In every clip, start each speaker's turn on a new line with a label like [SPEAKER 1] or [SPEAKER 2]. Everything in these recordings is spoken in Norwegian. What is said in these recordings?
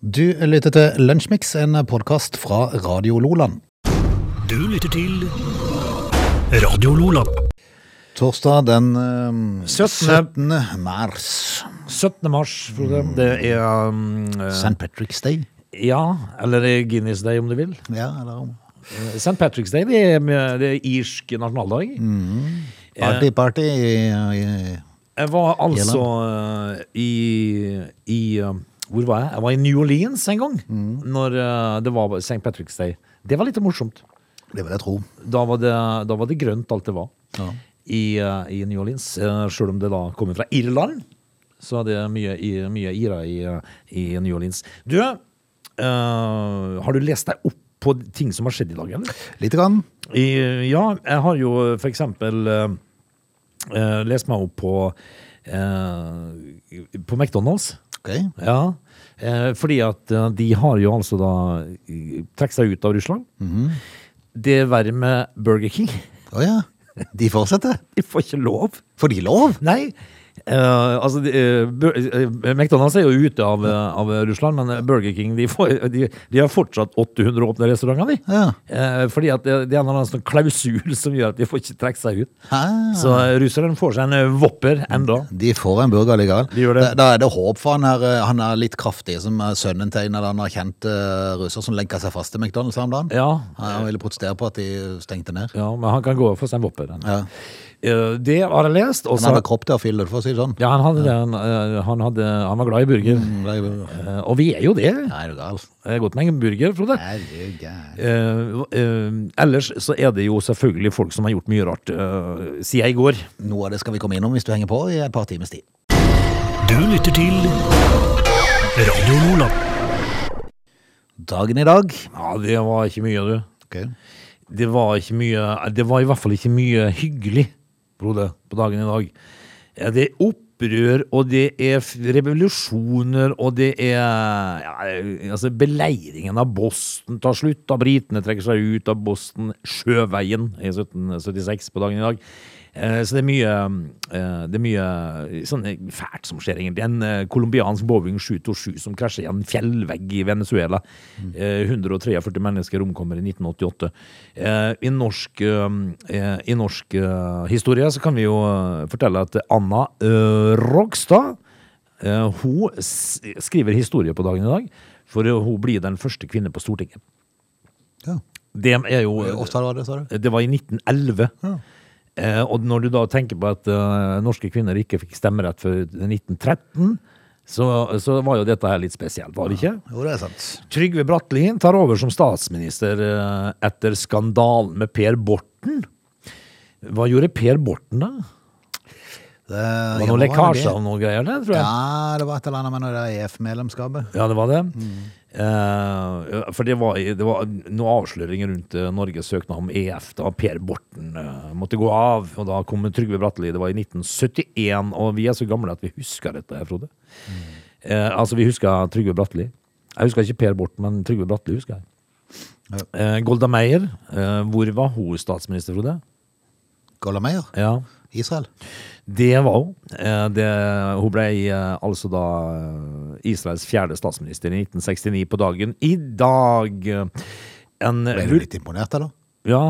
[SPEAKER 1] Du lytter til Lunsjmix, en podkast fra Radio Loland.
[SPEAKER 2] Du lytter til Radio Lola.
[SPEAKER 1] Torsdag den eh,
[SPEAKER 3] 17.
[SPEAKER 1] 17. mars.
[SPEAKER 3] 17. mars, Frode. Det er um, eh,
[SPEAKER 1] St. Patrick's Day.
[SPEAKER 3] Ja, eller det er Guinness Day, om du vil.
[SPEAKER 1] Ja, eller
[SPEAKER 3] Eh, St. Patrick's Day det er, det er irsk nasjonaldag.
[SPEAKER 1] Party, party i, i
[SPEAKER 3] Jeg var altså eh, i, i eh, Hvor var jeg? Jeg var i New Orleans en gang, når eh, det var St. Patrick's Day. Det var litt morsomt.
[SPEAKER 1] Det vil jeg tro.
[SPEAKER 3] Da var det, da var det grønt, alt det var.
[SPEAKER 1] Ja.
[SPEAKER 3] I, eh, I New Orleans. Eh, Selv om det da kommer fra Irland, så er det mye, i- mye irer i, eh, i New Orleans. Du, eh, har du lest deg opp på ting som har skjedd i dag, eller?
[SPEAKER 1] Lite grann.
[SPEAKER 3] I, ja, jeg har jo eh, for eksempel eh, eh, lest meg opp på eh, på McDonald's.
[SPEAKER 1] Ok.
[SPEAKER 3] Ja, eh, fordi at eh, de har jo altså da eh, trukket seg ut av Russland. Det verre med Burger King.
[SPEAKER 1] Å ja. De fortsetter.
[SPEAKER 3] De får ikke lov.
[SPEAKER 1] Får de lov?
[SPEAKER 3] Nei. Eh, altså, de, eh, Bur- eh, McDonald's er jo ute av, eh, av Russland, men eh, Burger King de, får, de, de har fortsatt 800 åpne restauranter. de.
[SPEAKER 1] Ja.
[SPEAKER 3] Eh, fordi at det, det er en eller annen sånn klausul som gjør at de får ikke trekke seg ut.
[SPEAKER 1] Ah.
[SPEAKER 3] Så eh, russeren får seg en eh, vopper enda.
[SPEAKER 1] De får en burger legal.
[SPEAKER 3] De gjør det.
[SPEAKER 1] Da, da er det håp for han her, eh, han er litt kraftig, som er sønnen til en eller annen kjent eh, russer som lenka seg fast til McDonald's her om dagen.
[SPEAKER 3] Ja,
[SPEAKER 1] Han ville protestere på at de stengte ned.
[SPEAKER 3] ja, men han kan gå og få seg en vopper. han.
[SPEAKER 1] Ja.
[SPEAKER 3] Eh, det har jeg lest. og
[SPEAKER 1] Han
[SPEAKER 3] så-
[SPEAKER 1] hadde kropp til å fylle det, for å si det sånn.
[SPEAKER 3] Ja, han, hadde det. Han, eh, han, hadde, han var glad i burger.
[SPEAKER 1] Mm, det er jo-
[SPEAKER 3] Eh, Og vi er jo det.
[SPEAKER 1] Nei, er du gal?
[SPEAKER 3] Det er godt med en burger, Frode.
[SPEAKER 1] Er du gal?
[SPEAKER 3] Eh, eh, ellers så er det jo selvfølgelig folk som har gjort mye rart eh, siden i går.
[SPEAKER 1] Noe av det skal vi komme innom hvis du henger på i et par timers tid.
[SPEAKER 2] Du lytter til Radio Lola.
[SPEAKER 1] Dagen i dag
[SPEAKER 3] Ja, det var ikke mye, du.
[SPEAKER 1] Ok.
[SPEAKER 3] Det var ikke mye Det var i hvert fall ikke mye hyggelig, Frode, på dagen i dag. Eh, Det er opprør, og det er f- revolusjoner, og det er ja, Altså, beleiringen av Boston tar slutt, da britene trekker seg ut av Boston sjøveien i 1776 på dagen i dag. Eh, Så det er mye, eh, det er mye sånn fælt som skjer, egentlig. En eh, colombiansk Boeing 727 som krasjer i en fjellvegg i Venezuela. Eh, 143 mennesker omkommer i 1988. Eh, I norsk, eh, i norsk eh, historie så kan vi jo eh, fortelle at Anna eh, Rogstad eh, hun s- skriver historie på dagen i dag, for eh, hun blir den første kvinne på Stortinget.
[SPEAKER 1] Ja.
[SPEAKER 3] Det er jo
[SPEAKER 1] Hvor ofte var det, sa du?
[SPEAKER 3] det var i 1911.
[SPEAKER 1] Ja.
[SPEAKER 3] Eh, og når du da tenker på at eh, norske kvinner ikke fikk stemmerett før 1913, så, så var jo dette her litt spesielt, var det ikke?
[SPEAKER 1] Jo, det er sant.
[SPEAKER 3] Trygve Bratteli tar over som statsminister eh, etter skandalen med Per Borten. Hva gjorde Per Borten, da?
[SPEAKER 1] Det
[SPEAKER 3] Var det noen lekkasjer av noen greier der, tror jeg?
[SPEAKER 1] Ja, det var et eller annet med E det EF-medlemskapet.
[SPEAKER 3] Ja, det var det. Eh, for det var, det var noen avsløringer rundt eh, Norges søknad om EF da Per Borten eh, måtte gå av. Og da kom Trygve Bratteli. Det var i 1971, og vi er så gamle at vi husker dette, her, Frode. Eh, altså, vi husker Trygve Bratteli. Jeg husker ikke Per Borten, men Trygve Bratteli husker jeg. Eh, Golda Meir, eh, hvor var hun statsminister, Frode?
[SPEAKER 1] Gollameier?
[SPEAKER 3] Ja.
[SPEAKER 1] Israel?
[SPEAKER 3] Det var hun. Eh, det, hun ble eh, altså da eh, Israels fjerde statsminister i 1969 på dagen. I dag eh, en,
[SPEAKER 1] Ble du litt imponert, eller?
[SPEAKER 3] Ja.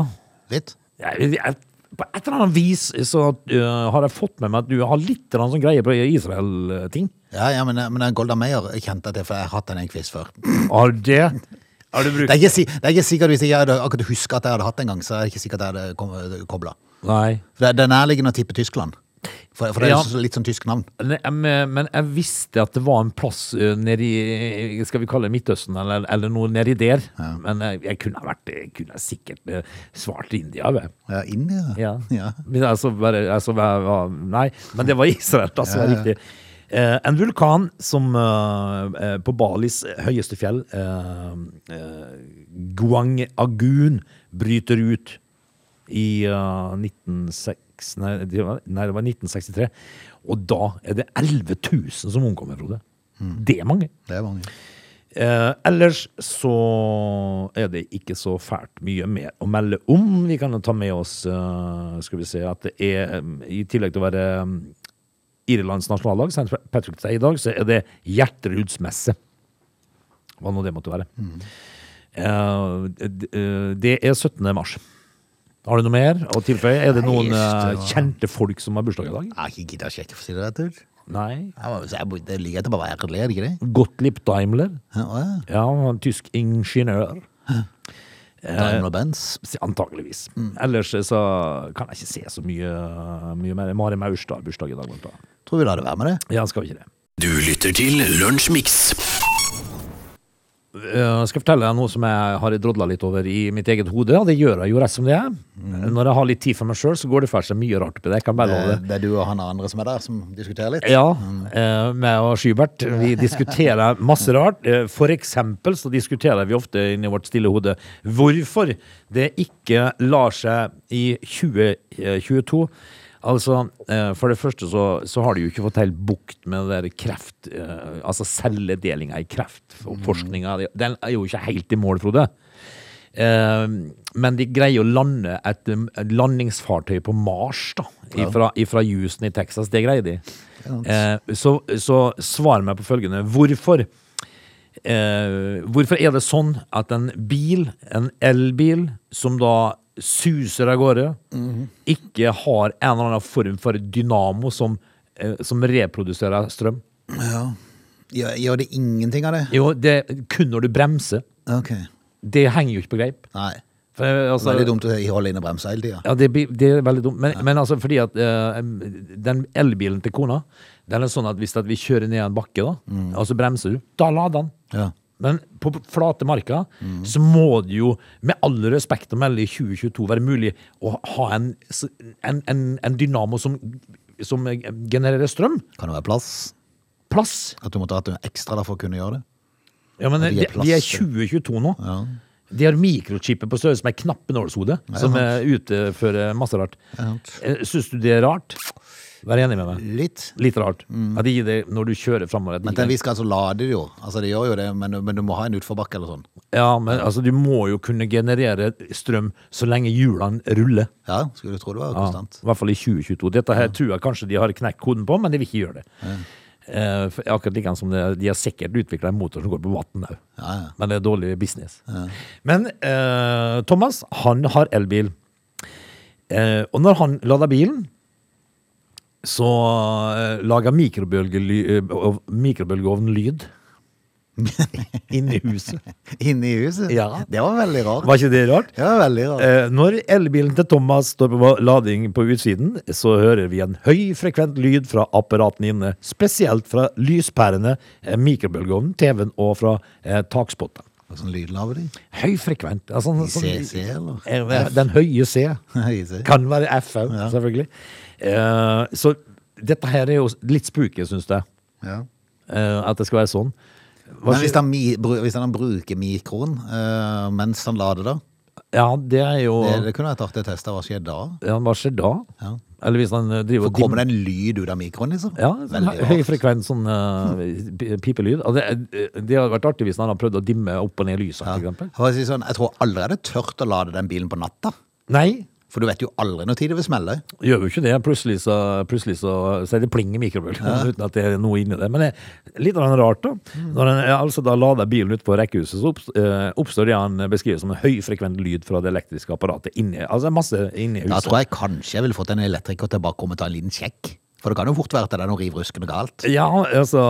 [SPEAKER 1] Litt?
[SPEAKER 3] Jeg, jeg, på et eller annet vis så eh, har jeg fått med meg at du har litt eller annen sånn greie på Israel-ting.
[SPEAKER 1] Ja, ja, men, men den Goldameyer jeg kjente at jeg, for jeg har hatt den en quiz før.
[SPEAKER 3] Har det Har
[SPEAKER 1] Det
[SPEAKER 3] du
[SPEAKER 1] er
[SPEAKER 3] brukt
[SPEAKER 1] ikke, si- det er ikke sikkert hvis jeg hadde akkurat huska at jeg hadde hatt den en gang, så er det ikke sikkert jeg hadde kobla.
[SPEAKER 3] Nei.
[SPEAKER 1] Det det er nærliggende å tippe Tyskland. For, for det er
[SPEAKER 3] Ja.
[SPEAKER 1] jo så- litt sånn tysk navn.
[SPEAKER 3] Ne- eh, Men men jeg visste at det var en plass eh, nedi eh, Skal vi kalle det Midtøsten, eller, eller noe nedi der. Men eh, jeg, jeg kunne ha vært Jeg kunne sikkert eh, svart India. Jeg.
[SPEAKER 1] Ja, India?
[SPEAKER 3] Ja.
[SPEAKER 1] ja.
[SPEAKER 3] Men altså, bare, altså, hva- hva- nei, men det var Israel, da, som var riktig. Eh, en vulkan som eh, eh, på Balis høyeste fjell, eh, eh, Guang Agun, bryter ut i eh, 1906, nei, det var, nei, det var 1963. Og da er det 11 000 som omkommer, Frode. Det er mange.
[SPEAKER 1] Det er mange.
[SPEAKER 3] Eh, ellers så er det ikke så fælt mye mer å melde om. Vi kan jo ta med oss eh, skal vi se, at det er, eh, i tillegg til å være eh, Irlands nasjonaldag, St. Patrick's Day i dag, så er det Gjerterudsmesse. hva nå det måtte være.
[SPEAKER 1] Mm.
[SPEAKER 3] Eh, d- eh, det er 17. mars. Har du noe mer å tilføye? Er det
[SPEAKER 1] Nei,
[SPEAKER 3] noen
[SPEAKER 1] jeg synes det
[SPEAKER 3] eh,
[SPEAKER 1] var-
[SPEAKER 3] kjente folk som har bursdag i dag?
[SPEAKER 1] Jeg har ikke giddet å sjekke, for å si det rett ut.
[SPEAKER 3] Nei.
[SPEAKER 1] Jeg må jo si, jeg burde- Det ligger etter bare å være ærlig, er det ikke det?
[SPEAKER 3] Gottlieb Daimler.
[SPEAKER 1] Ja, å ja.
[SPEAKER 3] Ja, han var en tysk ingeniør.
[SPEAKER 1] Daimler Benz.
[SPEAKER 3] Antakeligvis. Ellers så kan jeg ikke se så mye, mye mer. Mari Maurstad har bursdag i dag. blant annet.
[SPEAKER 1] Tror vi lar det være med det.
[SPEAKER 3] Ja, skal vi ikke det.
[SPEAKER 2] Du lytter til Lunsjmix.
[SPEAKER 3] Eh, skal fortelle deg noe som jeg har drodla litt over i mitt eget hode, og det gjør jeg jo rett som det er. Når jeg har litt tid for meg sjøl, så går det for seg mye rart oppi det. Jeg kan bare love
[SPEAKER 1] Det,
[SPEAKER 3] Mm. det.
[SPEAKER 1] det er du og han andre som er der, som diskuterer litt.
[SPEAKER 3] Ja, eh, meg og Skybert, vi diskuterer masse rart. Eh, For eksempel så diskuterer vi ofte inni vårt stille hode hvorfor det ikke lar seg i 2022. Altså, eh, for det første så, så har de jo ikke fått helt bukt med det der kreft, eh, altså celledelinga i kreftforskninga. Den er jo ikke helt i mål, Frode. Eh, men de greier å lande et, um, et landingsfartøy på Mars, da. Ifra, ifra Houston i Texas. Det greier de. Eh, så, så svar meg på følgende. Hvorfor? Eh, hvorfor er det sånn at en bil, en elbil, som da suser av gårde, ikke har en eller annen form for dynamo som, eh, som reproduserer strøm?
[SPEAKER 1] Gjør, gjør det ingenting av det?
[SPEAKER 3] Jo, det er kun når du bremser.
[SPEAKER 1] Ok.
[SPEAKER 3] Det henger jo ikke på greip.
[SPEAKER 1] Nei.
[SPEAKER 3] For, eh, altså-
[SPEAKER 1] Veldig dumt å holde inn og bremse hele tida.
[SPEAKER 3] Ja, det, blir- det er veldig dumt. Men, men altså, fordi at eh, den elbilen til kona, den er sånn at hvis at vi kjører ned en bakke, da, og så bremser du, da lader den.
[SPEAKER 1] Ja.
[SPEAKER 3] Men på flate marka så må det jo, med all respekt å melde, i 2022 være mulig å ha en, s- en, en, en dynamo som, som genererer strøm.
[SPEAKER 1] Kan det være plass?
[SPEAKER 3] Plass.
[SPEAKER 1] At du måtte hatt noe ekstra der for å kunne gjøre det?
[SPEAKER 3] Ja, men
[SPEAKER 1] det
[SPEAKER 3] de,
[SPEAKER 1] gir plass
[SPEAKER 3] de er
[SPEAKER 1] til-
[SPEAKER 3] 2022 nå. De har mikrochipper på størrelse med knappenålshode, som eh, utfører masse rart.
[SPEAKER 1] sant.
[SPEAKER 3] Eh, Syns du det er rart? Vær enig med meg.
[SPEAKER 1] Litt.
[SPEAKER 3] Litt rart. At de gir det når du kjører framover.
[SPEAKER 1] Mm. Men til en viss grad så lader det jo. Altså, det gjør jo det, men, men du må ha en utforbakke eller sånn.
[SPEAKER 3] Ja, men altså, du må jo kunne generere strøm så lenge hjulene ruller.
[SPEAKER 1] Ja, skulle du tro det var
[SPEAKER 3] Ja,
[SPEAKER 1] konstant.
[SPEAKER 3] I hvert fall i 2022. Dette her tror jeg kanskje de har knekt koden på, men de vil ikke gjøre det. Eh, for akkurat like som det, De har sikkert utvikla en motor som går på vann òg,
[SPEAKER 1] Ja, ja.
[SPEAKER 3] men det er dårlig business. Men eh, Thomas han har elbil. Eh, og når han lader bilen, så eh, lager mikrobølgely- eh, mikrobølgeovnen lyd. Inni huset.
[SPEAKER 1] Inne i huset?
[SPEAKER 3] Ja.
[SPEAKER 1] Det var veldig rart.
[SPEAKER 3] Var ikke det rart?
[SPEAKER 1] Det var veldig rart.
[SPEAKER 3] Eh, Når elbilen til Thomas står på lading på utsiden, så hører vi en høyfrekvent lyd fra apparatene inne, spesielt fra lyspærene, eh, mikrobølgeovnen, TV-en og fra eh, takspotta.
[SPEAKER 1] Hva sånn lyd lager de?
[SPEAKER 3] Høyfrekvent. Altså,
[SPEAKER 1] I CC, eller?
[SPEAKER 3] Eh, Den høye C.
[SPEAKER 1] Høye C.
[SPEAKER 3] Kan være F òg, selvfølgelig. Eh, Så dette her er jo litt spooky, syns jeg.
[SPEAKER 1] Ja.
[SPEAKER 3] eh, At det skal være sånn. Hva
[SPEAKER 1] Men hvis
[SPEAKER 3] skjer-
[SPEAKER 1] han, mi, bru, hvis han bruker mikroen eh, mens han lader, da?
[SPEAKER 3] Ja, det er jo
[SPEAKER 1] Det, det kunne vært artig å teste. Hva skjer da?
[SPEAKER 3] Ja, Hva skjer da?
[SPEAKER 1] Ja.
[SPEAKER 3] Eller hvis han eh, driver
[SPEAKER 1] For kommer det en lyd ut av mikroen, liksom?
[SPEAKER 3] Ja, sånn
[SPEAKER 1] Veldig
[SPEAKER 3] hø- høy
[SPEAKER 1] rart.
[SPEAKER 3] frekvens sånn eh, pi- pipelyd. Og det, er- det hadde vært artig hvis han hadde prøvd å dimme opp og ned lyset, for
[SPEAKER 1] Ja.
[SPEAKER 3] eksempel.
[SPEAKER 1] For å si sånn, jeg tror aldri jeg hadde tørt å lade den bilen på natta.
[SPEAKER 3] Nei,
[SPEAKER 1] For du vet jo aldri når tid det vil smelle.
[SPEAKER 3] gjør jo ikke det. Plutselig så, plutselig så sier det pling i mikrobølgen uten at det er noe inni det. Men det er litt av det rart, da. Når en eh, altså da lader bilen ut på rekkehuset, så opps- eh, oppstår det han beskriver som en høyfrekvent lyd fra det elektriske apparatet inni Altså masse inni
[SPEAKER 1] Da
[SPEAKER 3] huset.
[SPEAKER 1] tror jeg kanskje jeg ville fått en elektriker til å bare komme og ta en liten sjekk. For det kan jo fort være at det er noe rivruskende galt.
[SPEAKER 3] Ja, altså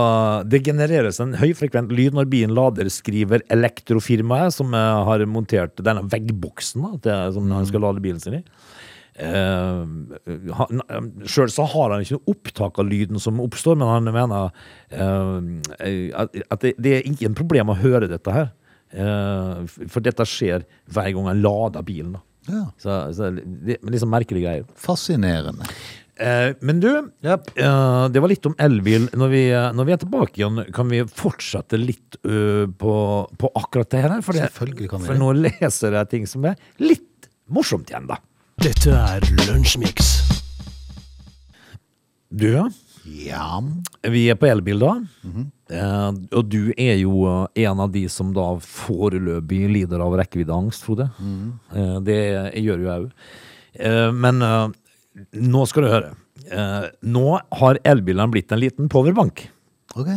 [SPEAKER 3] Det genereres en høyfrekvent lyd når bilen lader, skriver elektrofirmaet som eh, har montert denne veggboksen da, til, som han skal lade bilen sin i. Uh, Sjøl så har han ikke noe opptak av lyden som oppstår, men han mener eh, at at det, det er ikke en problem å høre dette her. Eh, f- for dette skjer hver gang han lader bilen. Da.
[SPEAKER 1] Ja,
[SPEAKER 3] Så, så det er liksom merkelige greier.
[SPEAKER 1] Fascinerende.
[SPEAKER 3] Eh, men du, eh, det var litt om elbil. Når vi, eh, når vi er tilbake igjen, kan vi fortsette litt ø, på, på akkurat det her? For, det,
[SPEAKER 1] Selvfølgelig kan vi
[SPEAKER 3] for
[SPEAKER 1] det.
[SPEAKER 3] nå leser jeg ting som er litt morsomt igjen, da.
[SPEAKER 2] Dette er Lunsjmix.
[SPEAKER 3] Du, ja.
[SPEAKER 1] Ja,
[SPEAKER 3] Vi er på elbil, da.
[SPEAKER 1] Mhm.
[SPEAKER 3] eh, og du er jo eh, en av de som da foreløpig lider av rekkeviddeangst, Frode.
[SPEAKER 1] Mhm.
[SPEAKER 3] Eh, det gjør jo jeg òg. Eh, men eh, nå skal du høre. Eh, nå har elbilene blitt en liten powerbank.
[SPEAKER 1] ok.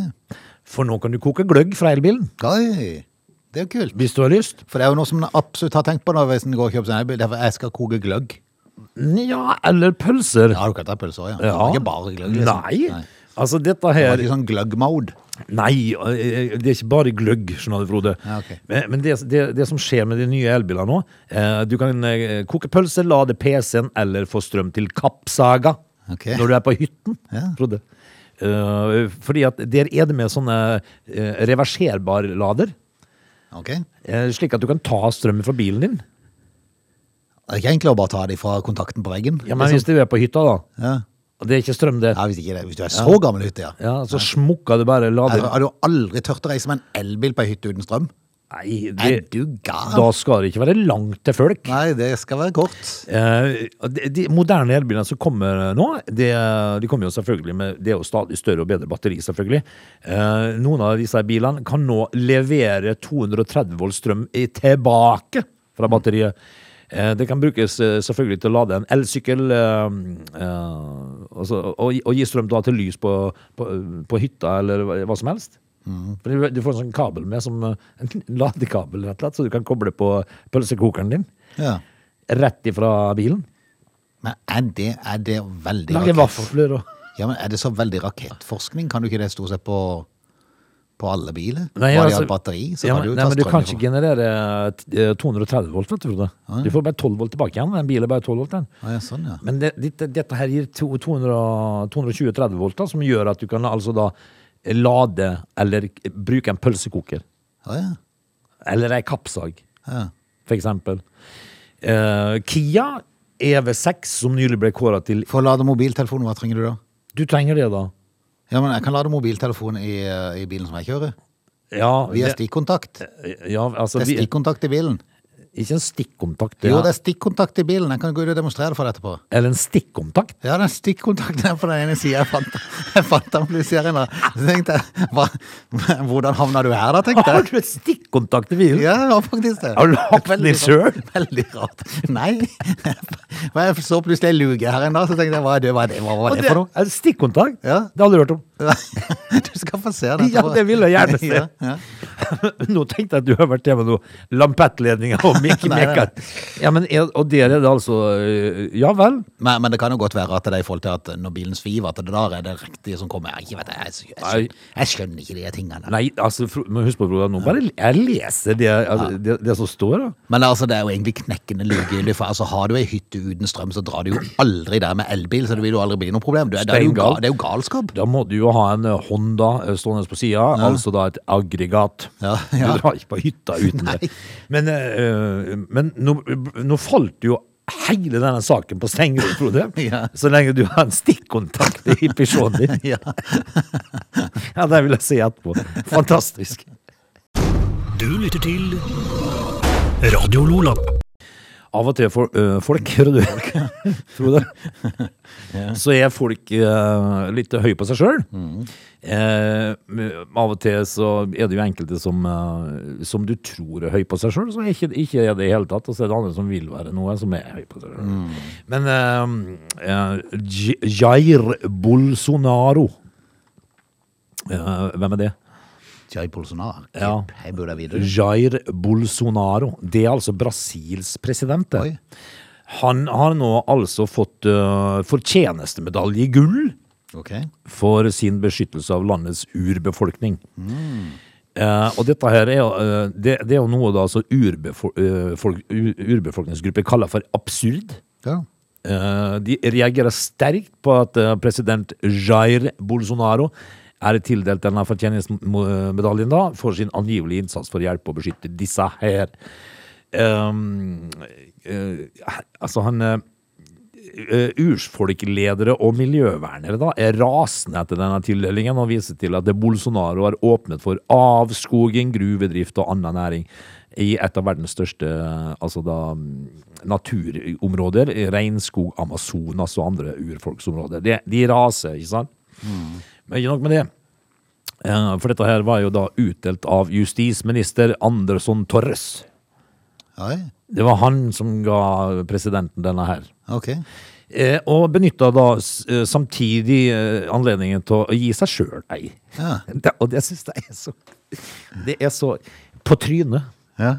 [SPEAKER 3] For nå kan du koke gløgg fra elbilen,
[SPEAKER 1] Oi, det er jo kult.
[SPEAKER 3] hvis du har lyst.
[SPEAKER 1] For det er jo noe som en absolutt har tenkt på da, hvis en går og kjøper seg en elbil. Derfor jeg skal koke gløgg.
[SPEAKER 3] Ja, eller pølser.
[SPEAKER 1] Ja, du kan ta pølser, ja.
[SPEAKER 3] Ja.
[SPEAKER 1] Ikke bare gløgg, liksom.
[SPEAKER 3] Nei.
[SPEAKER 1] Nei.
[SPEAKER 3] Altså, dette
[SPEAKER 1] Det er
[SPEAKER 3] her
[SPEAKER 1] ikke sånn gløgg-mode.
[SPEAKER 3] Nei, eh, det er ikke bare gløgg, skjønner du, Frode.
[SPEAKER 1] Ja, ok.
[SPEAKER 3] Men, men det, det, det som skjer med de nye elbilene nå eh, Du kan eh, koke pølse, lade PC-en eller få strøm til kappsaga
[SPEAKER 1] Ok.
[SPEAKER 3] når du er på hytten,
[SPEAKER 1] Ja.
[SPEAKER 3] Frode. Eh, fordi at der er det med sånne eh, reverserbar lader,
[SPEAKER 1] Ok? Det
[SPEAKER 3] eh, slik at du kan ta strømmen fra bilen din.
[SPEAKER 1] er ikke enklere å bare ta de fra kontakten på veggen.
[SPEAKER 3] Ja, men
[SPEAKER 1] liksom.
[SPEAKER 3] Hvis du er på hytta, da.
[SPEAKER 1] ja.
[SPEAKER 3] Og det er ikke strøm, det.
[SPEAKER 1] ja, hvis ikke det. Hvis du er så gammel hytte, ja.
[SPEAKER 3] Ja, Så smukker du bare
[SPEAKER 1] Jeg
[SPEAKER 3] lader.
[SPEAKER 1] har du aldri tørt å reise med en elbil på ei hytte uten strøm?
[SPEAKER 3] Nei,
[SPEAKER 1] Er
[SPEAKER 3] det,
[SPEAKER 1] du gal?
[SPEAKER 3] da skal det ikke være langt til folk.
[SPEAKER 1] Nei, det skal være kort.
[SPEAKER 3] Eh, de, de moderne elbilene som kommer nå, det, de kommer jo selvfølgelig med det er jo stadig større og bedre batteri, selvfølgelig. Eh, noen av disse bilene kan nå levere 230 volt strøm i, tilbake fra batteriet. Eh, det kan brukes eh, selvfølgelig til å lade en elsykkel eh, eh, altså, og, gi- og gi strøm da til lys på, på, på hytta eller hva- hva som helst. For du- Du får en sånn kabel med, som, eh, en ladekabel, rett og slett, så du kan koble på pølsekokeren din
[SPEAKER 1] Ja.
[SPEAKER 3] rett ifra bilen.
[SPEAKER 1] Men er det, er det veldig
[SPEAKER 3] Lage
[SPEAKER 1] rakett-
[SPEAKER 3] vafler og
[SPEAKER 1] Ja, men er det så veldig rakettforskning? Kan du ikke det stort sett på, på alle biler?
[SPEAKER 3] Nei,
[SPEAKER 1] Bare de
[SPEAKER 3] altså-
[SPEAKER 1] har batteri, så
[SPEAKER 3] ja,
[SPEAKER 1] kan du
[SPEAKER 3] men,
[SPEAKER 1] jo
[SPEAKER 3] nei,
[SPEAKER 1] ta
[SPEAKER 3] men du
[SPEAKER 1] strøm
[SPEAKER 3] kan ikke
[SPEAKER 1] ifra.
[SPEAKER 3] generere eh, 230 volt, vet du. Frode. Du får bare 12 volt tilbake igjen. En bil er bare 12 volt. Den.
[SPEAKER 1] Å, ja, sånn, ja.
[SPEAKER 3] Men det, dette, dette her gir to- 200 220-30 volt, da, som gjør at du kan altså da lade eller bruke en pølsekoker.
[SPEAKER 1] Å, ja.
[SPEAKER 3] Eller ei kappsag,
[SPEAKER 1] Ja.
[SPEAKER 3] for eksempel. Eh, Kia EV6, som nylig ble kåra til
[SPEAKER 1] For å lade mobiltelefonen, hva trenger du da?
[SPEAKER 3] Du trenger det, da.
[SPEAKER 1] Ja, men jeg kan lade mobiltelefonen i, eh, i bilen som jeg kjører.
[SPEAKER 3] Ja,
[SPEAKER 1] Via
[SPEAKER 3] det-
[SPEAKER 1] stikkontakt.
[SPEAKER 3] Ja, altså,
[SPEAKER 1] Det er
[SPEAKER 3] vi,
[SPEAKER 1] stikkontakt i bilen.
[SPEAKER 3] ikke en stikkontakt.
[SPEAKER 1] Jo,
[SPEAKER 3] ja.
[SPEAKER 1] det er stikkontakt i bilen. Jeg kan gå ut og demonstrere for deg etterpå.
[SPEAKER 3] Eller en stikkontakt.
[SPEAKER 1] Ja, den stikkontakten her på den ene sida. Jeg fant, jeg fant den på serien. da. Så tenkte jeg, hva, hvordan havna du her da, tenkte
[SPEAKER 3] Har
[SPEAKER 1] jeg.
[SPEAKER 3] du et stikkontakt i bilen? sånn.
[SPEAKER 1] Ja, det var faktisk det.
[SPEAKER 3] Har du lagt den i
[SPEAKER 1] Veldig rart. Veldig rart. Nei. Men jeg så plutselig ei luke her en dag, så tenkte jeg hva er det, hva er det, hva var
[SPEAKER 3] Og
[SPEAKER 1] det for noe?
[SPEAKER 3] er stikkontakt?
[SPEAKER 1] Ja.
[SPEAKER 3] Det har du hørt om.
[SPEAKER 1] Du skal få se den.
[SPEAKER 3] Ja,
[SPEAKER 1] etterpå.
[SPEAKER 3] det vil jeg gjerne se.
[SPEAKER 1] Ja, ja.
[SPEAKER 3] Nå tenkte jeg at du har vært hjemme med noen lampettledninger og Mikke
[SPEAKER 1] Nei, nei, nei.
[SPEAKER 3] Mekkar. Ja, men er, og der er det altså øh, Ja vel.
[SPEAKER 1] Men, men det kan jo godt være at det er i forhold til at når bilen sviver, at det der er det riktige som kommer. Jeg, vet, jeg, jeg,
[SPEAKER 3] Nei.
[SPEAKER 1] skjønner, jeg skjønner ikke de tingene.
[SPEAKER 3] Nei, altså, Fro- men husk på, Frode, nå bare jeg leser det, altså, det, det som står, da.
[SPEAKER 1] Men altså, det er jo egentlig knekkende likegyldig, for altså, har du ei hytte uten strøm, så drar du jo aldri der med elbil, så det vil jo aldri bli noe problem. Du, er- det, er jo ga,
[SPEAKER 3] Steingal.
[SPEAKER 1] det er jo galskap.
[SPEAKER 3] Da må du jo ha en øh, Honda øh, stående på sida, altså da et aggregat.
[SPEAKER 1] Ja, ja.
[SPEAKER 3] Du drar ikke på hytta uten
[SPEAKER 1] Nei.
[SPEAKER 3] det. Men, øh, men nå, nå falt jo hele denne saken på stengrunn, Frode.
[SPEAKER 1] Ja.
[SPEAKER 3] Så lenge du har en stikkontakt i Peugeoten din.
[SPEAKER 1] Ja.
[SPEAKER 3] Ja, det vil jeg si etterpå. Fantastisk.
[SPEAKER 2] Du lytter til Radio Lola.
[SPEAKER 3] Av og til for, øh, folk, hører du, Frode, så er folk øh, litt høy på seg sjøl. av og til så er det jo enkelte som, øh, som du tror er høy på seg sjøl, så er ikke, ikke er det i hele tatt. Og så er det andre som vil være noe, som er høy på seg sjøl. Men øh, øh, J- Jair Bolsonaro Eh, Hvem er det?
[SPEAKER 1] Jai Bolsonaro.
[SPEAKER 3] Ja.
[SPEAKER 1] Hei, burde jeg videre.
[SPEAKER 3] Jair Bolsonaro. Det er altså Brasils president. det.
[SPEAKER 1] Oi.
[SPEAKER 3] Han har nå altså fått eh, fortjenestemedalje i gull
[SPEAKER 1] Ok.
[SPEAKER 3] for sin beskyttelse av landets urbefolkning. Eh, og dette her er, jo, eh, det, det er jo noe da altså urbefol eh, folk, u- urbefolkningsgrupper kaller for absurd.
[SPEAKER 1] Ja.
[SPEAKER 3] Eh, de reagerer sterkt på at eh, president Jair Bolsonaro er tildelt denne fortjenestemedaljen da, for sin angivelige innsats for å hjelpe og beskytte disse her. Um, eh, altså han eh, eh, Ursfolkledere og miljøvernere da, er rasende etter denne tildelingen og viser til at Bolsonaro har åpnet for avskoging, gruvedrift og annen næring i et av verdens største eh, altså da, mm, naturområder, regnskog, Amazonas og andre urfolksområder. De, de raser, ikke sant? Men ikke nok med det. Eh, For dette her var jo da utdelt av justisminister Andersson Torres.
[SPEAKER 1] Oi.
[SPEAKER 3] Det var han som ga presidenten denne her.
[SPEAKER 1] Ok.
[SPEAKER 3] eh, og benytta da s- eh, samtidig eh, anledningen til å gi seg sjøl ei.
[SPEAKER 1] Ja.
[SPEAKER 3] Det, og det syns jeg er så Det er så på trynet.
[SPEAKER 1] Ja.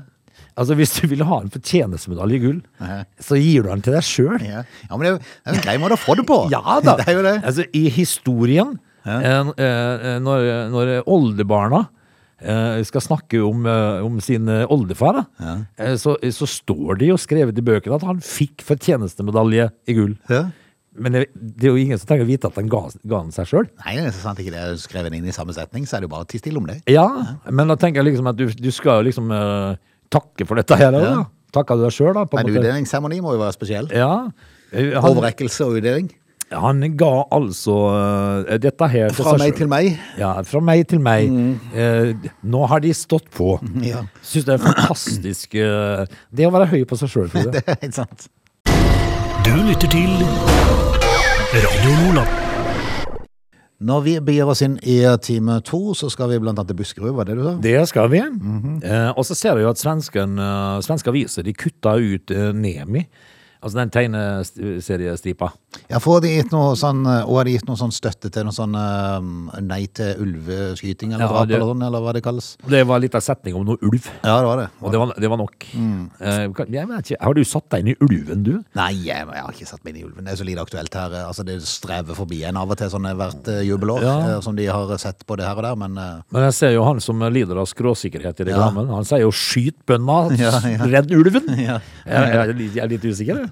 [SPEAKER 3] Altså, hvis du vil ha en fortjenestemedalje i gull,
[SPEAKER 1] Ja.
[SPEAKER 3] så gir du den til deg sjøl.
[SPEAKER 1] Ja. ja, men det er jo det er jo en grei måte å få det på.
[SPEAKER 3] Ja da!
[SPEAKER 1] Det er jo det.
[SPEAKER 3] Altså, I historien, eh, eh, når, når oldebarna eh, skal snakke om, eh, om sin eh, oldefar, da, eh, så, så står det jo skrevet i bøkene at han fikk fortjenestemedalje i gull.
[SPEAKER 1] Ja.
[SPEAKER 3] Men det, det er jo ingen som trenger å vite at han ga, ga den seg sjøl.
[SPEAKER 1] Nei, det er så sant ikke det er skrevet inn i samme setning, så er det jo bare å tie stille om det.
[SPEAKER 3] Ja, men da tenker jeg liksom at du, du skal jo liksom eh, takke for dette her. da,
[SPEAKER 1] Ja.
[SPEAKER 3] Da. Takker du deg sjøl, da? På
[SPEAKER 1] Men
[SPEAKER 3] en måte.
[SPEAKER 1] utdelingsseremoni må jo være spesiell.
[SPEAKER 3] Ja. Eh, Han,
[SPEAKER 1] Overrekkelse og utdeling.
[SPEAKER 3] han ga altså eh, dette her til
[SPEAKER 1] Fra
[SPEAKER 3] seg
[SPEAKER 1] meg
[SPEAKER 3] selv.
[SPEAKER 1] til meg.
[SPEAKER 3] Ja, fra meg til meg. Eh, nå har de stått på.
[SPEAKER 1] Ja.
[SPEAKER 3] Syns det er fantastisk eh, Det å være høy på seg sjøl, Frode.
[SPEAKER 1] Det er helt sant.
[SPEAKER 2] Du lytter til Radio Lola.
[SPEAKER 1] Når vi begir oss inn i time to, så skal vi blant annet til Buskerud, var det du sa?
[SPEAKER 3] Det skal vi.
[SPEAKER 1] Mhm.
[SPEAKER 3] eh, og så ser jeg jo at svensken, eh, svenske aviser de kutta ut eh, Nemi. Altså den tegneseriestripa.
[SPEAKER 1] Ja, for har de gitt noe sånn, og har de gitt noe sånn støtte til noe sånn eh, nei til ulveskyting eller
[SPEAKER 3] Ja,
[SPEAKER 1] drap
[SPEAKER 3] det-
[SPEAKER 1] eller sånn, eller hva det kalles?
[SPEAKER 3] Det var litt av setning om noe ulv.
[SPEAKER 1] Ja, det var det.
[SPEAKER 3] Og det var, det var nok.
[SPEAKER 1] Mm.
[SPEAKER 3] Eh, kan- jeg vet ikke, har du satt deg inn i ulven, du?
[SPEAKER 1] Nei, jeg, jeg har ikke satt meg inn i ulven. Det er så lite aktuelt her. Altså, det strever forbi en av og til sånn hvert eh, jubelår,
[SPEAKER 3] Ja.
[SPEAKER 1] eh, som de har sett på det her og der, men eh,
[SPEAKER 3] Men jeg ser jo han som lider av skråsikkerhet i reklamen. Han sier jo 'skyt bønda,
[SPEAKER 1] Ja, ja.
[SPEAKER 3] redd ulven'.
[SPEAKER 1] Ja.
[SPEAKER 3] Jeg, jeg, er litt- jeg er litt usikker, jeg.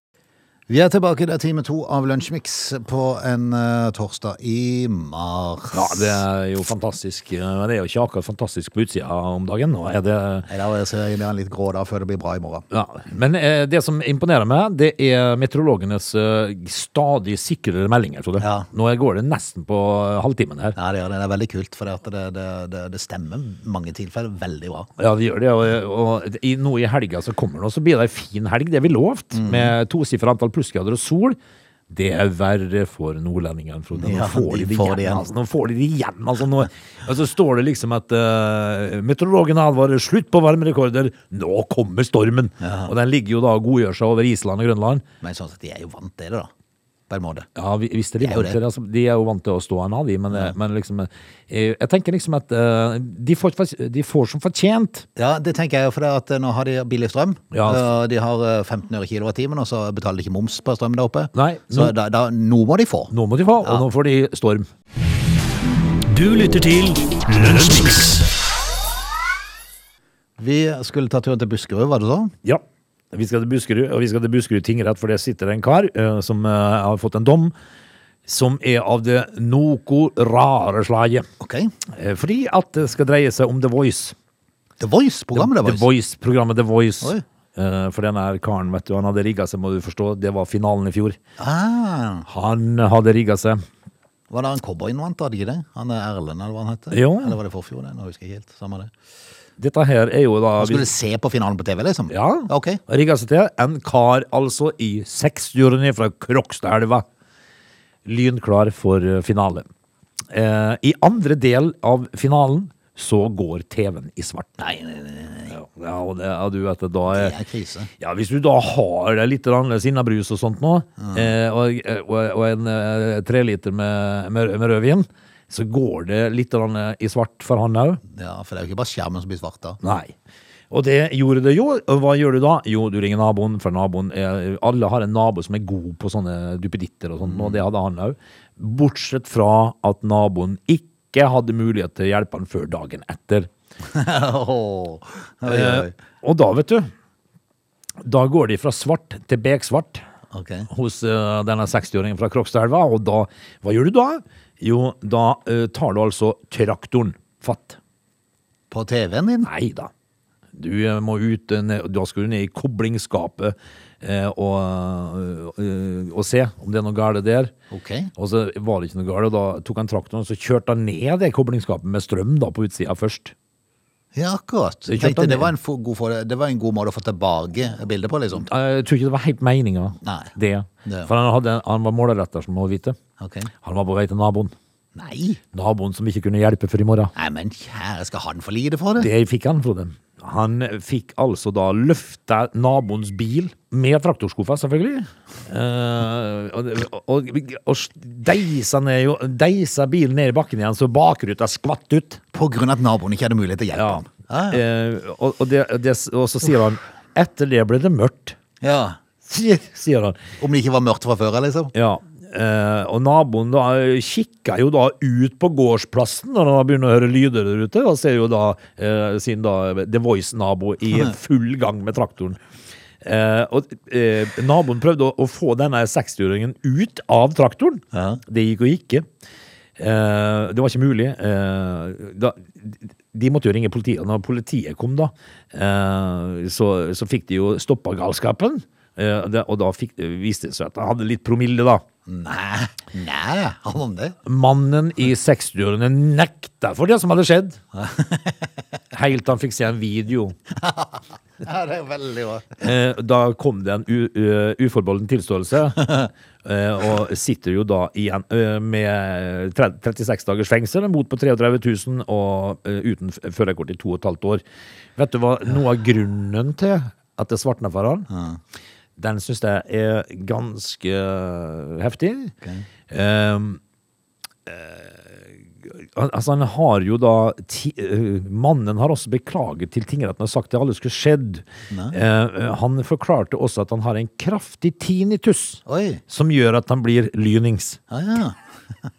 [SPEAKER 1] Vi er tilbake, det er time to av Lunsjmix på en eh, torsdag i mars.
[SPEAKER 3] Ja, det er jo fantastisk. eh, Men det er jo ikke akkurat fantastisk på utsida om dagen. Nå er det
[SPEAKER 1] Nei, da er jeg en litt grå da, før det blir bra i morgen.
[SPEAKER 3] ja. Men eh, det som imponerer meg, det er meteorologenes eh, stadig sikrere meldinger. Frode.
[SPEAKER 1] Ja.
[SPEAKER 3] Nå går det nesten på eh, halvtimen her.
[SPEAKER 1] Ja, det gjør det. Det er veldig kult, for det, at det, det, det, det stemmer mange tilfeller veldig bra.
[SPEAKER 3] Ja, det gjør det. Og, og i, nå i helga så kommer det, og så blir det ei fin helg. Det har vi lovt.
[SPEAKER 1] Mm.
[SPEAKER 3] Med tosifra antall plussgrader og sol. Det er verre for nordlendingene, Frode. Nå
[SPEAKER 1] Ja,
[SPEAKER 3] får de
[SPEAKER 1] de
[SPEAKER 3] det
[SPEAKER 1] får
[SPEAKER 3] igjen.
[SPEAKER 1] det igjen.
[SPEAKER 3] Altså, nå får de det igjen. Altså, nå, altså står det liksom at uh, meteorologene advarer slutt på varmerekorder. Nå kommer stormen! Og den ligger jo da og godgjør seg over Island og Grønland.
[SPEAKER 1] Men sånn sett, de er jo vant til det da, på en måte.
[SPEAKER 3] Ja, vi- visst er de
[SPEAKER 1] Det er jo
[SPEAKER 3] vant til det. Altså, de er jo vant til å stå en av, de. Men, eh, men liksom, eh, jeg tenker liksom at eh, de, får, de får som fortjent.
[SPEAKER 1] Ja, det tenker jeg jo, for det at eh, nå har de billig strøm.
[SPEAKER 3] Ja.
[SPEAKER 1] Eh, De har eh, 15 øre kilowattimen, og så betaler de ikke moms på strøm der oppe.
[SPEAKER 3] Nei,
[SPEAKER 1] Så
[SPEAKER 3] nå-
[SPEAKER 1] da, da, nå må de få.
[SPEAKER 3] Nå må de få, og nå får de storm.
[SPEAKER 2] Du lytter til Lunsjmix.
[SPEAKER 1] Vi skulle ta turen til Buskerud, var det så?
[SPEAKER 3] Ja. Vi skal til Buskerud, og vi skal til Buskerud tingrett, for der sitter det en kar eh, som eh, har fått en dom som er av det noe rare slaget.
[SPEAKER 1] Ok.
[SPEAKER 3] Eh, fordi at det skal dreie seg om The Voice.
[SPEAKER 1] The Voice-programmet, det var
[SPEAKER 3] The Voice, programmet The Voice.
[SPEAKER 1] Oi.
[SPEAKER 3] Eh, for den her karen, vet du, han hadde rigga seg, må du forstå. Det var finalen i fjor.
[SPEAKER 1] Ah,
[SPEAKER 3] Han hadde rigga seg.
[SPEAKER 1] var det han cowboyen vant, hadde ikke det? Han er Erlend, eller hva han heter?
[SPEAKER 3] Jo.
[SPEAKER 1] Eller var det forfjor, det? Nå husker jeg ikke helt. Samme det.
[SPEAKER 3] Dette her er jo da
[SPEAKER 1] Han skulle se på finalen på TV, liksom?
[SPEAKER 3] Ja.
[SPEAKER 1] Ok.
[SPEAKER 3] Rigga seg til en kar altså i 60-årene fra Krokstadelva. Lynklar for eh, finale. Eh, I andre del av finalen så går TV-en i svart. Nei, nei, nei. Ja, og det, ja, du vet det, da
[SPEAKER 1] Det
[SPEAKER 3] er
[SPEAKER 1] er krise.
[SPEAKER 3] ja, Hvis du da har det litt annerledes innabrus og sånt nå, eh, og, og, og en eh, treliter med, med, med rødvin, så går det litt grann, eh, i svart for han òg.
[SPEAKER 1] Ja, for det er jo ikke bare skjermen som blir svart da.
[SPEAKER 3] Nei. Og det gjorde det jo. Og hva gjør du da? Jo, du ringer naboen, for naboen er, Alle har en nabo som er god på sånne duppeditter og sånn, og det hadde han òg. Bortsett fra at naboen ikke hadde mulighet til å hjelpe han før dagen etter.
[SPEAKER 1] Åh, oi, oi.
[SPEAKER 3] Eh, og da, vet du Da går de fra svart til beksvart
[SPEAKER 1] Ok.
[SPEAKER 3] hos eh, denne 60-åringen fra Krokstadelva, og da Hva gjør du da? Jo, da eh, tar du altså traktoren fatt.
[SPEAKER 1] På TV-en din?
[SPEAKER 3] Nei da. Du eh, må ut, eh, ned- da skal du ned i koblingsskapet eh, og, eh, og se om det er noe galt der.
[SPEAKER 1] Ok.
[SPEAKER 3] Og så var det ikke noe galt, og da tok han traktoren og så kjørte han ned det koblingsskapet med strøm da på utsida først.
[SPEAKER 1] Ja, akkurat.
[SPEAKER 3] Så jeg kjøpte
[SPEAKER 1] Tenkte,
[SPEAKER 3] den
[SPEAKER 1] det, var
[SPEAKER 3] igjen.
[SPEAKER 1] en fo- god for, det var en god måte å få tilbake bildet på, liksom.
[SPEAKER 3] Eh, Jeg tror ikke det var helt meninga,
[SPEAKER 1] Nei.
[SPEAKER 3] det.
[SPEAKER 1] Det-
[SPEAKER 3] For han, hadde, han var målretter, som må vite.
[SPEAKER 1] Ok.
[SPEAKER 3] Han var på vei til naboen.
[SPEAKER 1] Nei.
[SPEAKER 3] Naboen som ikke kunne hjelpe før i morgen.
[SPEAKER 1] Nei, men kjære, skal han få lide for det?
[SPEAKER 3] Det fikk han, Frode. Han fikk altså da løfta naboens bil med traktorskuffa, selvfølgelig. Eh, og, og, og deisa, ned, jo- deisa bilen ned i bakken igjen, så bakruta skvatt ut.
[SPEAKER 1] På grunn av at naboen ikke hadde mulighet til å hjelpe
[SPEAKER 3] Ja.
[SPEAKER 1] ham. Ja, ja.
[SPEAKER 3] Eh, og, og, det, det, og så sier han Etter det ble det mørkt,
[SPEAKER 1] ja.
[SPEAKER 3] sier, sier han.
[SPEAKER 1] Om det ikke var mørkt fra før, liksom.
[SPEAKER 3] Ja, eh, og naboen da kikka jo da ut på gårdsplassen når han da begynner å høre lyder der ute, og ser jo da eh, sin da The Voice-nabo i full gang med traktoren. Eh, og eh, naboen prøvde å, å få denne 60-åringen ut av traktoren.
[SPEAKER 1] Ja.
[SPEAKER 3] Det gikk jo ikke. Eh, det var ikke mulig. Eh, da, de måtte jo ringe politiet. Når politiet kom, da, eh, så, så fikk de jo stoppa galskapen. Eh, det, og da fikk, viste det seg at han hadde litt promille, da.
[SPEAKER 1] Nei, nei, han om det.
[SPEAKER 3] Mannen i 60-årene nekta for det som hadde skjedd. Helt til han fikk se en video.
[SPEAKER 1] Ja, det er veldig bra.
[SPEAKER 3] Eh, da kom det en u- eh, uforbeholden tilståelse, eh, og sitter jo da igjen eh, med tre- 36 dagers fengsel, en bot på 33 000 og eh, uten f- førerkort i to og et halvt år. Vet du hva noe av grunnen til at det svartna for han? Den syns jeg er ganske heftig. Ehm, Al- Altså han har jo da ti, eh, Mannen har også beklaget til tingretten og sagt det aldri skulle skjedd. Eh, han forklarte også at han har en kraftig tinnitus
[SPEAKER 1] Oi.
[SPEAKER 3] som gjør at han blir lynings.
[SPEAKER 1] Ja, ja.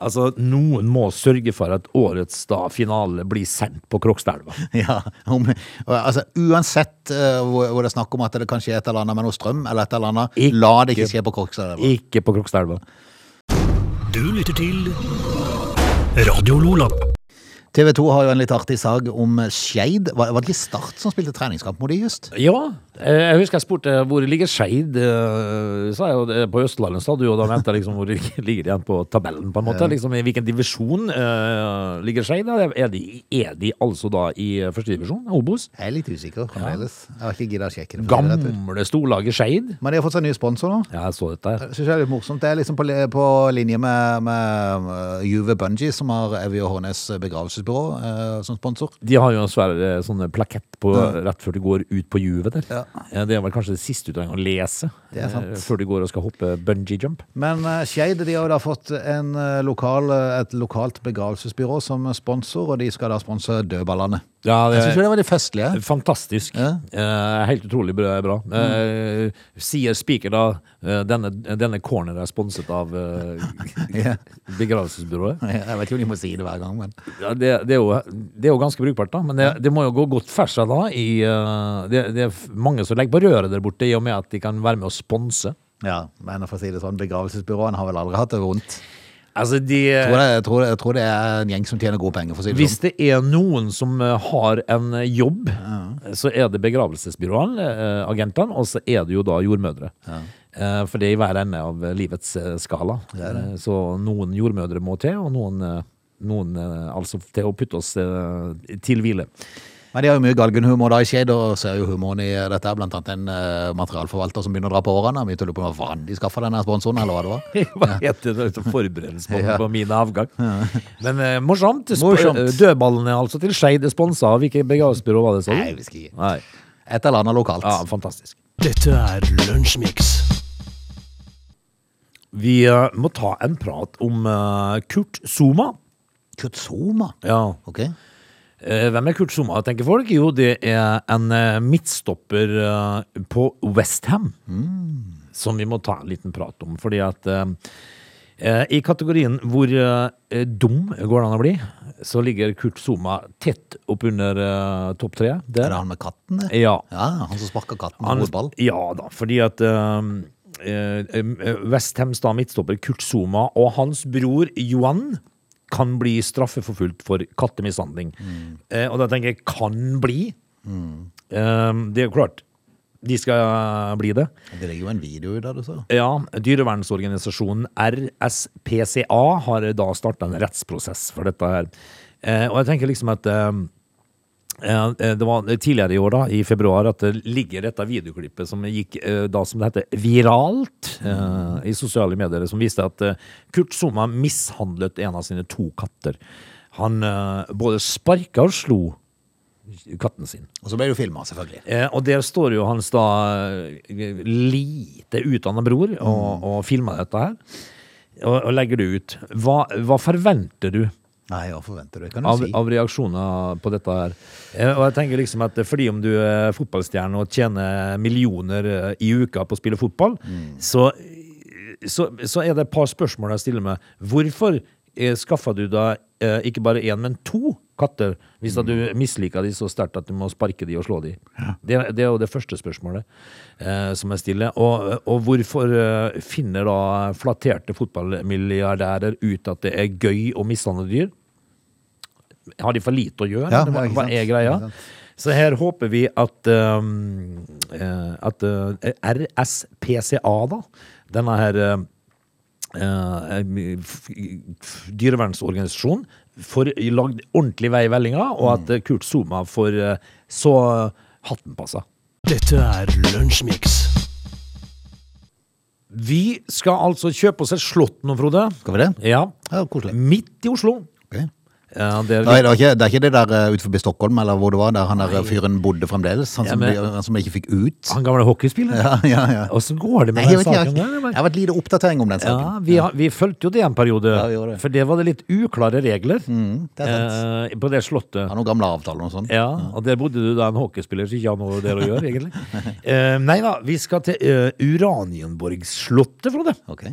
[SPEAKER 3] Altså, noen må sørge for at årets da finale blir sendt på Krokstadelva.
[SPEAKER 1] ja. Om, og altså, uansett eh, hvor, hvor det er snakk om at det kan skje et eller annet med noe strøm, eller et eller annet,
[SPEAKER 3] Ikke-
[SPEAKER 1] la det ikke skje på Korkstad.
[SPEAKER 3] Ikke på Krokstadelva.
[SPEAKER 2] Du lytter til Radio Lola.
[SPEAKER 1] TV 2 har jo en litt artig sag om Skeid. Var, var det ikke Start som spilte treningskamp mot de just?
[SPEAKER 3] Ja, eh, jeg husker jeg spurte hvor ligger Skeid. eh, sa jeg jo det, På Østlandet sa du jo da mente jeg liksom hvor det ligger igjen på tabellen, på en måte. Liksom, I hvilken divisjon eh, ligger Skeid? da? Er de, er de altså da i første divisjon, Obos?
[SPEAKER 1] Jeg er litt usikker fremdeles. Jeg har ikke giddet å sjekke det. for å si det rett ut.
[SPEAKER 3] Gamle storlaget Skeid?
[SPEAKER 1] Men de har fått seg ny sponsor nå.
[SPEAKER 3] Ja, jeg så dette her.
[SPEAKER 1] Det synes jeg er litt morsomt. Det er liksom på, li- på linje med, med eh, Juve Bungee, som har Evje Hårnes begravelsesbyrå eh, som sponsor.
[SPEAKER 3] De har jo en svær eh, sånn plakett på, rett før de går ut på juvet der.
[SPEAKER 1] Ja.
[SPEAKER 3] Eh, Det er vel kanskje det siste du trenger å lese
[SPEAKER 1] Det er sant.
[SPEAKER 3] eh, før de går og skal hoppe bungee jump.
[SPEAKER 1] Men eh, Skeid de har jo da fått en eh, lokal, eh, et lokalt begravelsesbyrå som sponsor, og de skal da sponse dødballene.
[SPEAKER 3] Ja,
[SPEAKER 1] Jeg syns jo det var litt festlige.
[SPEAKER 3] Fantastisk.
[SPEAKER 1] Ja. Mm.
[SPEAKER 3] Eh, helt utrolig bra. bra. Eh, sier Spiker da eh, denne, denne corner er sponset av eh,
[SPEAKER 1] Ja.
[SPEAKER 3] begravelsesbyrået.
[SPEAKER 1] Jeg vet ikke om de må si det hver gang, men
[SPEAKER 3] Ja, det, det, er jo, det er jo ganske brukbart, da. Men det, det må jo gå godt for seg da. I, eh, det, det er f- mange som legger på røret der borte, i og med at de kan være med å sponse.
[SPEAKER 1] ja, men for å si det sånn, begravelsesbyråene har vel aldri hatt det vondt.
[SPEAKER 3] Altså, de
[SPEAKER 1] Jeg tror det, jeg tror, jeg tror det er en gjeng som tjener gode penger, for å si det
[SPEAKER 3] Hvis
[SPEAKER 1] sånn.
[SPEAKER 3] det er noen som eh, har en eh, jobb, så er det begravelsesbyråene, eh, agentene, og så er det jo da jordmødre. Eh, For det er i hver ende av eh, livets eh, skala. Eh, Så noen jordmødre må til, og noen, eh, noen eh, altså til å putte oss eh, til hvile.
[SPEAKER 1] Men de har jo mye galgenhumor da i Skeid, og ser jo humoren i dette. er Blant annet en eh, materialforvalter som begynner å dra på årene. Mye lurer på hva faen de skaffa denne sponsoren, eller hva det var.
[SPEAKER 3] Hva heter det? Sånn Forberedelse på,
[SPEAKER 1] Ja.
[SPEAKER 3] på min avgang. Men eh, morsomt. Sp
[SPEAKER 1] Morsomt.
[SPEAKER 3] eh, Dødballene altså til Skeid er sponsa av hvilket begravelsesbyrå var det, sa du?
[SPEAKER 1] Nei, jeg husker ikke.
[SPEAKER 3] Nei.
[SPEAKER 1] Et eller annet lokalt.
[SPEAKER 3] Ja, fantastisk.
[SPEAKER 2] Dette er Lunsjmix.
[SPEAKER 3] Vi eh, må ta en prat om eh, Kurt Zuma.
[SPEAKER 1] Kutsoma.
[SPEAKER 3] Ja.
[SPEAKER 1] Ok.
[SPEAKER 3] Eh, Hvem er Kurt Zuma, tenker folk? Jo, det er en eh, midtstopper eh, på Westham. Som vi må ta en liten prat om, fordi at eh, eh, i kategorien hvor eh, dum går det an å bli, så ligger Kurt Zuma tett oppunder eh, topp tre.
[SPEAKER 1] Er
[SPEAKER 3] Der.
[SPEAKER 1] det han med katten, det?
[SPEAKER 3] Ja.
[SPEAKER 1] Ja, han som sparker katten med
[SPEAKER 3] Han-
[SPEAKER 1] fotball.
[SPEAKER 3] Ja da, fordi at eh, um, Westhams da midtstopper Kurt Zuma og hans bror Johan kan bli straffeforfulgt for kattemishandling. Eh, og da tenker jeg 'kan bli'. Eh, det er jo klart. De skal bli det.
[SPEAKER 1] Det ligger jo en video ut av det, så.
[SPEAKER 3] Ja, dyrevernsorganisasjonen RSPCA har da starta en rettsprosess for dette her. Eh, og jeg tenker liksom at eh, Eh, eh, Det var tidligere i år, da, i februar, at det ligger dette videoklippet som gikk eh, da som det heter viralt eh, i sosiale medier, som viste at eh, Kurt Zuma mishandlet en av sine to katter. Han eh, både sparka og slo katten sin.
[SPEAKER 1] Og så ble det jo filma, selvfølgelig.
[SPEAKER 3] Eh, og der står jo hans da eh, lite utdanna bror og, og filmer dette her. Og, og legger det ut. Hva, hva forventer du?
[SPEAKER 1] Nei, hva forventer du? Kan du
[SPEAKER 3] av,
[SPEAKER 1] si?
[SPEAKER 3] av reaksjoner på dette her. Eh, Og jeg tenker liksom at fordi om du er fotballstjerne og tjener millioner eh, i uka på å spille fotball, så, så, så er det et par spørsmål jeg stiller meg. Hvorfor eh, skaffa du deg eh, ikke bare én, men to katter hvis at du misliker de så sterkt at du må sparke de og slå de? Det, det er jo det første spørsmålet eh, som jeg stiller. Og, og hvorfor eh, finner da flatterte fotballmilliardærer ut at det er gøy å mishandle dyr? har de for lite å gjøre?
[SPEAKER 1] Ja,
[SPEAKER 3] eller hva,
[SPEAKER 1] ja, ikke sant.
[SPEAKER 3] hva er greia?
[SPEAKER 1] Ikke sant.
[SPEAKER 3] Så her håper vi at, um, eh, at eh, RSPCA, da, denne her eh, eh, f- f- dyrevernsorganisasjonen, får lagd ordentlig vei i vellinga, og at eh, Kurt Zuma får eh, så hatten passa.
[SPEAKER 2] Dette er Lunsjmix.
[SPEAKER 3] Vi skal altså kjøpe oss et slott nå, Frode.
[SPEAKER 1] Skal vi det?
[SPEAKER 3] Ja.
[SPEAKER 1] Ja, koselig.
[SPEAKER 3] Midt i Oslo.
[SPEAKER 1] Ok.
[SPEAKER 3] Ja, det er
[SPEAKER 1] Nei, det, var ikke, det er ikke det der eh, ut forbi Stockholm, eller hvor det var, der han der eh, fyren bodde fremdeles? Han
[SPEAKER 3] Ja,
[SPEAKER 1] som,
[SPEAKER 3] men-
[SPEAKER 1] de- han som ikke fikk ut?
[SPEAKER 3] han gamle hockeyspilleren.
[SPEAKER 1] Ja, ja, ja.
[SPEAKER 3] Åssen går det med
[SPEAKER 1] Nei, jeg
[SPEAKER 3] den
[SPEAKER 1] vet ikke.
[SPEAKER 3] saken?
[SPEAKER 1] Jeg
[SPEAKER 3] der,
[SPEAKER 1] har-
[SPEAKER 3] men-
[SPEAKER 1] jeg har vært lite oppdatering om den saken.
[SPEAKER 3] Ja, vi, har, vi fulgte jo det en periode,
[SPEAKER 1] vi gjorde det.
[SPEAKER 3] for det var det litt uklare regler
[SPEAKER 1] det er
[SPEAKER 3] eh, på det slottet.
[SPEAKER 1] Har noen gamle avtaler og sånn.
[SPEAKER 3] Ja, og der bodde du da en hockeyspiller som ikke har noe der å gjøre, egentlig. Eh, nei da, vi skal til eh, Uranienborgslottet, Frode.
[SPEAKER 1] Ok.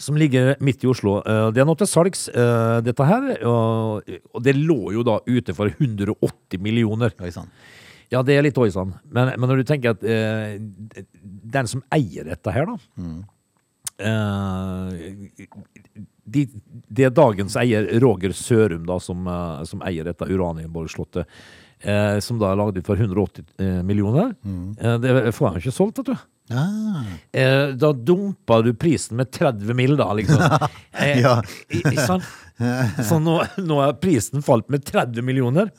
[SPEAKER 3] Som ligger midt i Oslo. Eh, det er nå til salgs, eh, dette her. Og, og det lå jo da ute for 180 millioner.
[SPEAKER 1] Oi sann.
[SPEAKER 3] Ja, det er litt oi sann. Men, men når du tenker at eh, den som eier dette her, da
[SPEAKER 1] Mm.
[SPEAKER 3] eh, de, Det er dagens eier, Roger Sørum, da, som, eh, som eier dette Uranienborgslottet. Eh, som da er lagd ut for 180 eh, millioner.
[SPEAKER 1] Mm.
[SPEAKER 3] Eh, det får han jo ikke solgt, vet du.
[SPEAKER 1] Ah,
[SPEAKER 3] Eh, da dumpa du prisen med 30 mill., da, liksom. Eh,
[SPEAKER 1] Ja.
[SPEAKER 3] i- i- sånn. Så nå, nå er prisen falt med 30 millioner.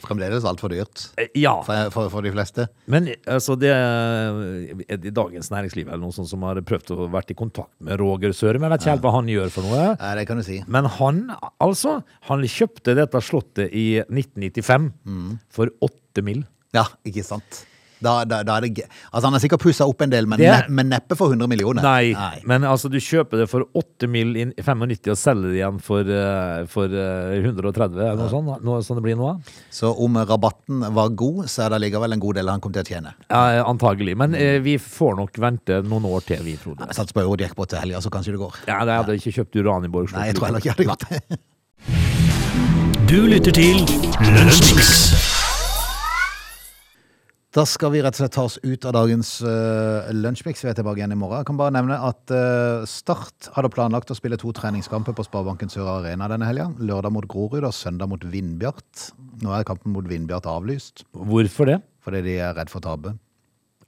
[SPEAKER 1] fremdeles altfor dyrt
[SPEAKER 3] Eh, Ja.
[SPEAKER 1] for, for, for de fleste.
[SPEAKER 3] Men altså, det er det Dagens Næringsliv eller noen sånn som har prøvd å vært i kontakt med Roger Sørum. Jeg vet ikke helt hva han gjør for noe.
[SPEAKER 1] Nei, det kan du si.
[SPEAKER 3] Men han, altså, han kjøpte dette slottet i 1995 for åtte mill.
[SPEAKER 1] Ja, ikke sant. Da, da, da er det, ge- altså, han har sikkert pussa opp en del, men,
[SPEAKER 3] Det-
[SPEAKER 1] ne, men neppe for 100 millioner.
[SPEAKER 3] Nei, men altså, du kjøper det for åtte mill. i 95 og selger det igjen for, eh, for eh, 130, eller noe sånt, noe sånt det blir nå. da.
[SPEAKER 1] Så om rabatten var god, så er det likevel en god del han kom til å tjene.
[SPEAKER 3] Ja, antagelig. Men eh, vi får nok vente noen år til, vi, Frode.
[SPEAKER 1] Sats på Eurojackpot til helga, så kanskje det går.
[SPEAKER 3] Ja, jeg hadde ikke kjøpt Uranienborg.
[SPEAKER 1] Nei, jeg tror heller ikke jeg hadde gjort det.
[SPEAKER 2] Du lytter til Lunsjmix.
[SPEAKER 1] Da skal vi rett og slett ta oss ut av dagens uh, lunsjmix. Vi er tilbake igjen i morgen. Jeg kan bare nevne at eh, Start hadde planlagt å spille to treningskamper på Sparebanken Sør Arena denne helga. Lørdag mot Grorud og søndag mot Vindbjart. Nå er kampen mot Vindbjart avlyst
[SPEAKER 3] Hvorfor det?
[SPEAKER 1] fordi de er redd for å tape.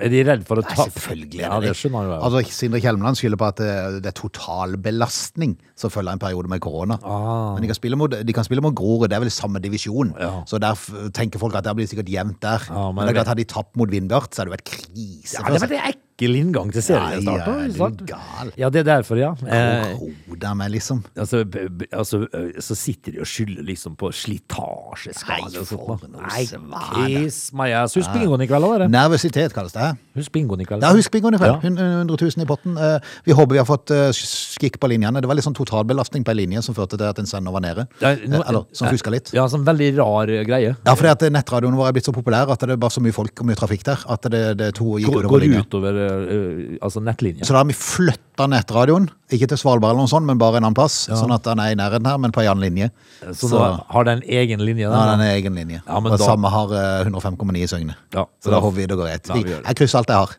[SPEAKER 3] Er de redde for å
[SPEAKER 1] Nei,
[SPEAKER 3] ta
[SPEAKER 1] selvfølgelig.
[SPEAKER 3] Ja, det skjønner jo jeg.
[SPEAKER 1] Altså, Sindre Kjelmeland skylder på at eh, det er totalbelastning som følger en periode med korona. Men de kan spille mot, de kan spille mot Grorud, det er vel samme divisjon.
[SPEAKER 3] Ah. Ja.
[SPEAKER 1] Så der f- tenker folk at det blir sikkert jevnt der.
[SPEAKER 3] Ja, men
[SPEAKER 1] men det
[SPEAKER 3] jeg
[SPEAKER 1] er klart, hadde de tapt mot Vindbjart, så hadde det vært krise.
[SPEAKER 3] Ja,
[SPEAKER 1] for seg.
[SPEAKER 3] det var det ekkel inngang til seriestart. da,
[SPEAKER 1] Nei,
[SPEAKER 3] ikke
[SPEAKER 1] er
[SPEAKER 3] sant?
[SPEAKER 1] du gal?
[SPEAKER 3] Ja, det er derfor, ja. Eh,
[SPEAKER 1] Roda meg, liksom.
[SPEAKER 3] altså, b- b- altså, eh, så sitter de og skylder liksom på slitasjeskade
[SPEAKER 1] Nei,
[SPEAKER 3] og sånt.
[SPEAKER 1] for
[SPEAKER 3] da.
[SPEAKER 1] noe
[SPEAKER 3] Nei,
[SPEAKER 1] svada.
[SPEAKER 3] kiss meg ass. Husk bingoen i kveld, da, dere.
[SPEAKER 1] Nervøsitet, kalles det. her.
[SPEAKER 3] Husk bingoen i kveld.
[SPEAKER 1] Ja, husk bingoen i kveld.
[SPEAKER 3] Ja.
[SPEAKER 1] 100 000 i potten. Eh, Vi håper vi har fått eh, skikk på linjene. Det var litt sånn totalbelastning på en linje som førte til at en sender var nede.
[SPEAKER 3] Nei,
[SPEAKER 1] Eh,
[SPEAKER 3] nå-
[SPEAKER 1] Eller som
[SPEAKER 3] nei.
[SPEAKER 1] fuska litt.
[SPEAKER 3] Ja, sånn veldig rar eh, greie.
[SPEAKER 1] Ja, fordi at nettradioen vår er blitt så populær at det er bare så mye folk og mye trafikk der at det, det to gikk
[SPEAKER 3] Går,
[SPEAKER 1] utover
[SPEAKER 3] går
[SPEAKER 1] linja.
[SPEAKER 3] utover eh, eh, altså nettlinja.
[SPEAKER 1] Så da har vi flytta nettradioen, ikke til Svalbard eller noe sånt, men bare en annen plass. Sånn at den er i nærheten her, men på en annen linje.
[SPEAKER 3] Så nå har den egen linje.
[SPEAKER 1] Ja, den
[SPEAKER 3] den, da.
[SPEAKER 1] er egen linje.
[SPEAKER 3] Ja, men
[SPEAKER 1] og
[SPEAKER 3] da-
[SPEAKER 1] samme har eh, 105,9 i Søgne.
[SPEAKER 3] Ja,
[SPEAKER 1] så da håper vi det går greit.
[SPEAKER 3] Ja, vi
[SPEAKER 1] Vi-
[SPEAKER 3] gjør det.
[SPEAKER 1] Jeg krysser alt jeg har.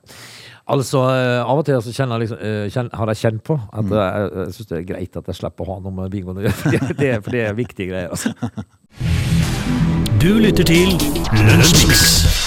[SPEAKER 3] Altså, eh, Av og til så kjenner jeg liksom, eh, kjen- har jeg kjent på at jeg, eh, jeg syns det er greit at jeg slipper å ha noe med bingoen å gjøre. For det, det, er- for det er viktige greier. altså.
[SPEAKER 2] Du lytter til Lunsjmix.